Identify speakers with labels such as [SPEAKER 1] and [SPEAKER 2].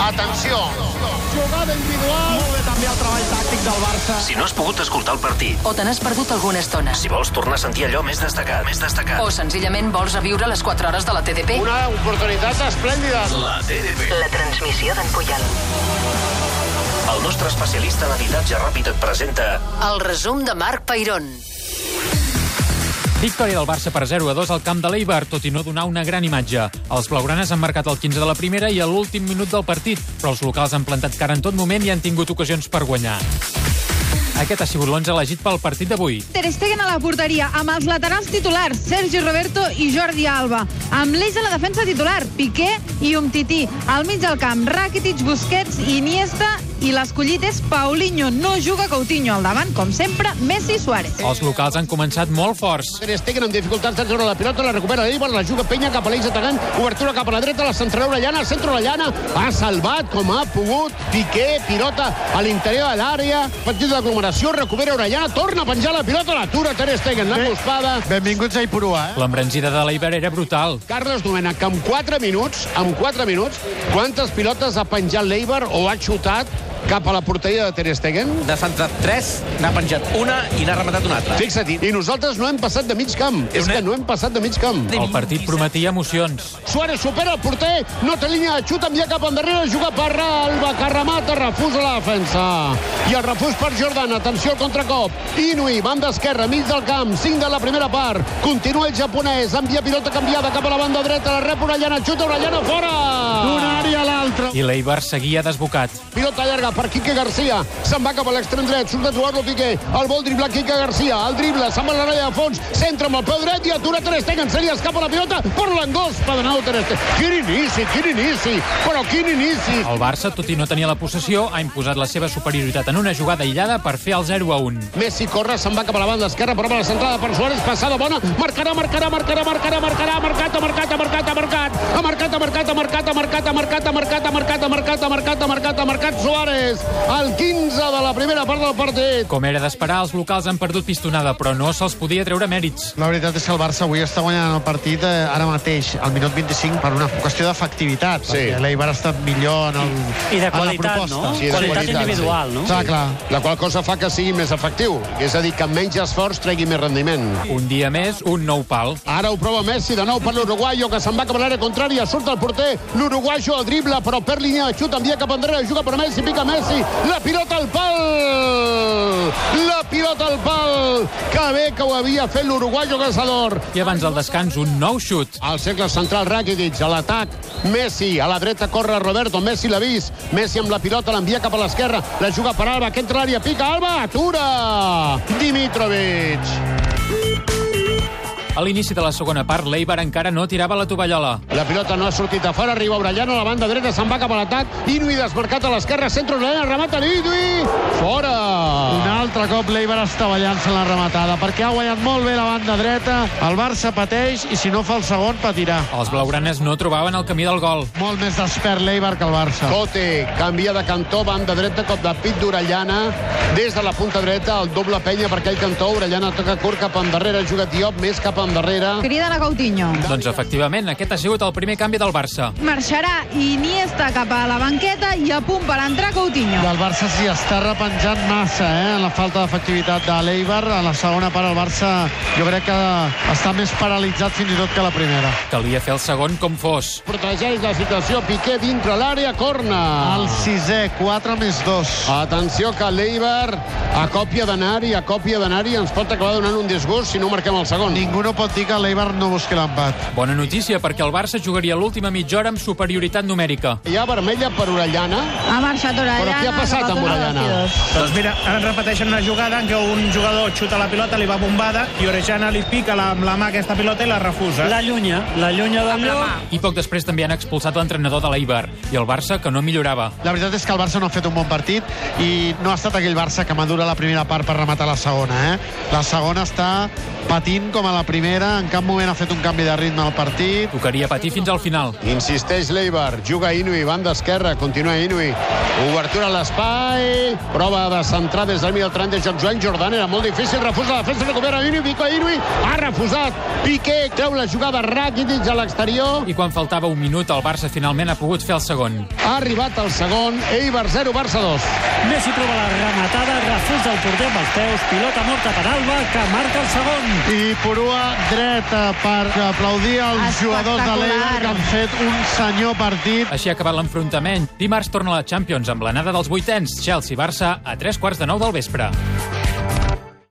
[SPEAKER 1] Atenció!
[SPEAKER 2] Jugada individual. Molt bé també el treball tàctic del Barça.
[SPEAKER 3] Si no has pogut escoltar el partit,
[SPEAKER 4] o te n'has perdut alguna estona,
[SPEAKER 3] si vols tornar a sentir allò més destacat, més destacat,
[SPEAKER 4] o senzillament vols reviure les 4 hores de la TDP,
[SPEAKER 1] Una oportunitat esplèndida.
[SPEAKER 3] la TDP.
[SPEAKER 4] la transmissió d'en Puyol.
[SPEAKER 3] El nostre especialista en habitatge ràpid et presenta
[SPEAKER 4] El resum de Marc Peirón.
[SPEAKER 5] Victòria del Barça per 0 a 2 al camp de l'Eibar, tot i no donar una gran imatge. Els blaugranes han marcat el 15 de la primera i a l'últim minut del partit, però els locals han plantat cara en tot moment i han tingut ocasions per guanyar. Aquest ha sigut l'11 elegit pel partit d'avui.
[SPEAKER 6] Ter Stegen a la porteria, amb els laterals titulars, Sergi Roberto i Jordi Alba. Amb l'eix a la defensa titular, Piqué i Umtiti. Al mig del camp, Rakitic, Busquets, Iniesta i l'escollit és Paulinho. No juga Coutinho al davant, com sempre, Messi i Suárez.
[SPEAKER 5] Els locals han començat molt forts.
[SPEAKER 1] Ter Stegen amb dificultats de treure la pilota, la recupera d'Eibar, la juga Penya cap a l'eix atacant, obertura cap a la dreta, la centrarà Orellana, al centre Orellana, ha salvat com ha pogut, Piqué, pilota a l'interior de l'àrea, partit d'aglomeració, recupera Orellana, torna a penjar la pilota, l'atura Ter Stegen, la cospada.
[SPEAKER 2] Benvinguts a Ipurua, eh?
[SPEAKER 5] L'embranzida de l'Eibar era brutal.
[SPEAKER 1] Carles Domènech, que en 4 minuts, en 4 minuts, quantes pilotes ha penjat l'Eibar o ha xutat cap a la porteria de Ter Stegen?
[SPEAKER 7] N'ha centrat 3, n'ha penjat una i n'ha rematat una altra.
[SPEAKER 1] Fixa't, i nosaltres no hem passat de mig camp. És que no hem passat de mig camp.
[SPEAKER 5] El partit prometia emocions.
[SPEAKER 1] Suárez supera el porter, no té línia de xut, envia cap endarrere, juga per Alba, que remata, refusa la defensa. I el refús per Jordan, atenció al contracop. Inui, banda esquerra, mig del camp, 5 de la primera part. Continua el japonès, envia pilota canviada cap a la banda dreta, la rep Orellana, xuta Orellana, fora! D'una àrea a l'altra.
[SPEAKER 5] I l'Eibar seguia desbocat.
[SPEAKER 1] Pilota llarga per Quique Garcia. Se'n va cap a l'extrem dret. Surt a jugar-lo Piqué. El vol driblar Quique Garcia. El dribla. Se'n va a l'àrea de fons. Centra amb el peu dret i atura Ter Stegen. Se li escapa la pilota per l'angost. Per anar Ter Stegen. Quin inici, quin inici. Però quin inici.
[SPEAKER 5] El Barça, tot i no tenir la possessió, ha imposat la seva superioritat en una jugada aïllada per fer el 0 a 1.
[SPEAKER 1] Messi corre, se'n va cap a la banda esquerra, prova la centrada per Suárez, passada bona, marcarà, marcarà, marcarà, marcarà, marcarà, ha marcat, ha marcat, ha marcat, ha marcat, ha marcat, ha marcat, ha marcat, ha marcat, ha marcat, ha marcat, ha marcat, ha marcat, ha marcat, ha marcat, ha marcat, Suárez, el 15 de la primera part del partit.
[SPEAKER 5] Com era d'esperar, els locals han perdut pistonada, però no se'ls podia treure mèrits.
[SPEAKER 2] La veritat és que el Barça avui està guanyant el partit eh, ara mateix, al minut 25, per una qüestió d'efectivitat,
[SPEAKER 1] Sí.
[SPEAKER 2] sí. perquè l'Eibar ha estat millor en,
[SPEAKER 8] I de
[SPEAKER 2] el, en la
[SPEAKER 8] qualitat,
[SPEAKER 2] proposta.
[SPEAKER 8] no?
[SPEAKER 1] Sí, de
[SPEAKER 8] qualitat
[SPEAKER 1] qualitat,
[SPEAKER 8] individual, no?
[SPEAKER 2] Clar, clar.
[SPEAKER 1] La qual cosa fa que sigui més efectiu, és a dir, que menys esforç tregui més rendiment.
[SPEAKER 5] Un dia més, un nou pal.
[SPEAKER 1] Ara ho prova Messi de nou per l'Uruguaio, que se'n va cap a l'àrea contrària, surt el porter, l'Uruguaio el dribla, però per línia de xut, envia cap enrere, juga per Messi, pica Messi, la pilota al pal! La pilota al pal! Que bé que ho havia fet l'Uruguaio Casador!
[SPEAKER 5] I abans del descans, un nou xut.
[SPEAKER 1] Al cercle central, Rakitic, a l'atac, Messi, a la dreta corre Roberto, Messi l'ha vist, Messi amb la pilota l'envia cap a l'esquerra, la juga per Alba, que entra a l'àrea, pica Alba, atura! Dimitrovic!
[SPEAKER 5] A l'inici de la segona part, l'Eibar encara no tirava la tovallola.
[SPEAKER 1] La pilota no ha sortit a fora, arriba Orellana, a la banda dreta se'n va cap a l'atac, Inui desmarcat a l'esquerra, centre Orellana, remata l'Inui, fora!
[SPEAKER 2] Un altre cop l'Eibar està ballant-se en la rematada, perquè ha guanyat molt bé la banda dreta, el Barça pateix i si no fa el segon patirà.
[SPEAKER 5] Els blaugranes no trobaven el camí del gol.
[SPEAKER 2] Molt més despert l'Eibar que el Barça.
[SPEAKER 1] Cote canvia de cantó, banda dreta, cop de pit d'Orellana, des de la punta dreta, el doble penya per aquell cantó, Orellana toca curt cap endarrere, juga Diop més cap endarrere.
[SPEAKER 6] Criden a Coutinho.
[SPEAKER 5] Doncs efectivament, aquest ha sigut el primer canvi del Barça.
[SPEAKER 6] Marxarà Iniesta cap a la banqueta i a punt per entrar Coutinho.
[SPEAKER 2] I el Barça s'hi està repenjant massa, eh, en la falta d'efectivitat de l'Eibar. A la segona part el Barça jo crec que està més paralitzat fins i tot que la primera.
[SPEAKER 5] Calia fer el segon com fos.
[SPEAKER 1] Protegeix la situació, Piqué dintre l'àrea, corna.
[SPEAKER 2] El sisè, 4 més 2.
[SPEAKER 1] Atenció que l'Eibar, a còpia d'anar-hi, a còpia d'anar-hi, ens pot acabar donant un disgust si no marquem el segon.
[SPEAKER 2] Ningú no pot dir que l'Eibar no busqui l'empat.
[SPEAKER 5] Bona notícia, perquè el Barça jugaria l'última mitja hora amb superioritat numèrica.
[SPEAKER 1] Hi ha vermella per Orellana,
[SPEAKER 6] Ha marxat Orellana.
[SPEAKER 1] Però què ha passat
[SPEAKER 6] cap a
[SPEAKER 1] amb Orellana?
[SPEAKER 6] Torres.
[SPEAKER 9] Doncs mira, ara repeteixen una jugada en què un jugador xuta la pilota, li va bombada i Orejana li pica la, amb la mà aquesta pilota i la refusa.
[SPEAKER 8] La llunya, la llunya del lloc.
[SPEAKER 5] I poc després també han expulsat l'entrenador de l'Eibar. I el Barça, que no millorava.
[SPEAKER 2] La veritat és que el Barça no ha fet un bon partit i no ha estat aquell Barça que madura la primera part per rematar la segona. Eh? La segona està patint com a la primera, en cap moment ha fet un canvi de ritme al partit.
[SPEAKER 5] Tocaria patir fins al final.
[SPEAKER 1] Insisteix l'Eibar, juga Inui, banda esquerra, continua Inui. Obertura a l'espai, prova de centrar des del mig del tram de joc Joan Jordan, era molt difícil, refusa la defensa, recupera Inui, pica Inui, ha refusat, Piqué treu la jugada Rakitic a l'exterior,
[SPEAKER 5] I quan faltava un minut, el Barça finalment ha pogut fer el segon.
[SPEAKER 1] ha arribat el segon, Eibar 0, Barça 2.
[SPEAKER 8] Messi troba la rematada, refús del porter amb els peus, pilota morta per Alba, que marca el segon.
[SPEAKER 2] I Purua dreta per aplaudir els jugadors de l'Eibar que han fet un senyor partit.
[SPEAKER 5] Així ha acabat l'enfrontament. Dimarts torna a la Champions amb l'anada dels vuitens. Chelsea-Barça a tres quarts de nou del vespre.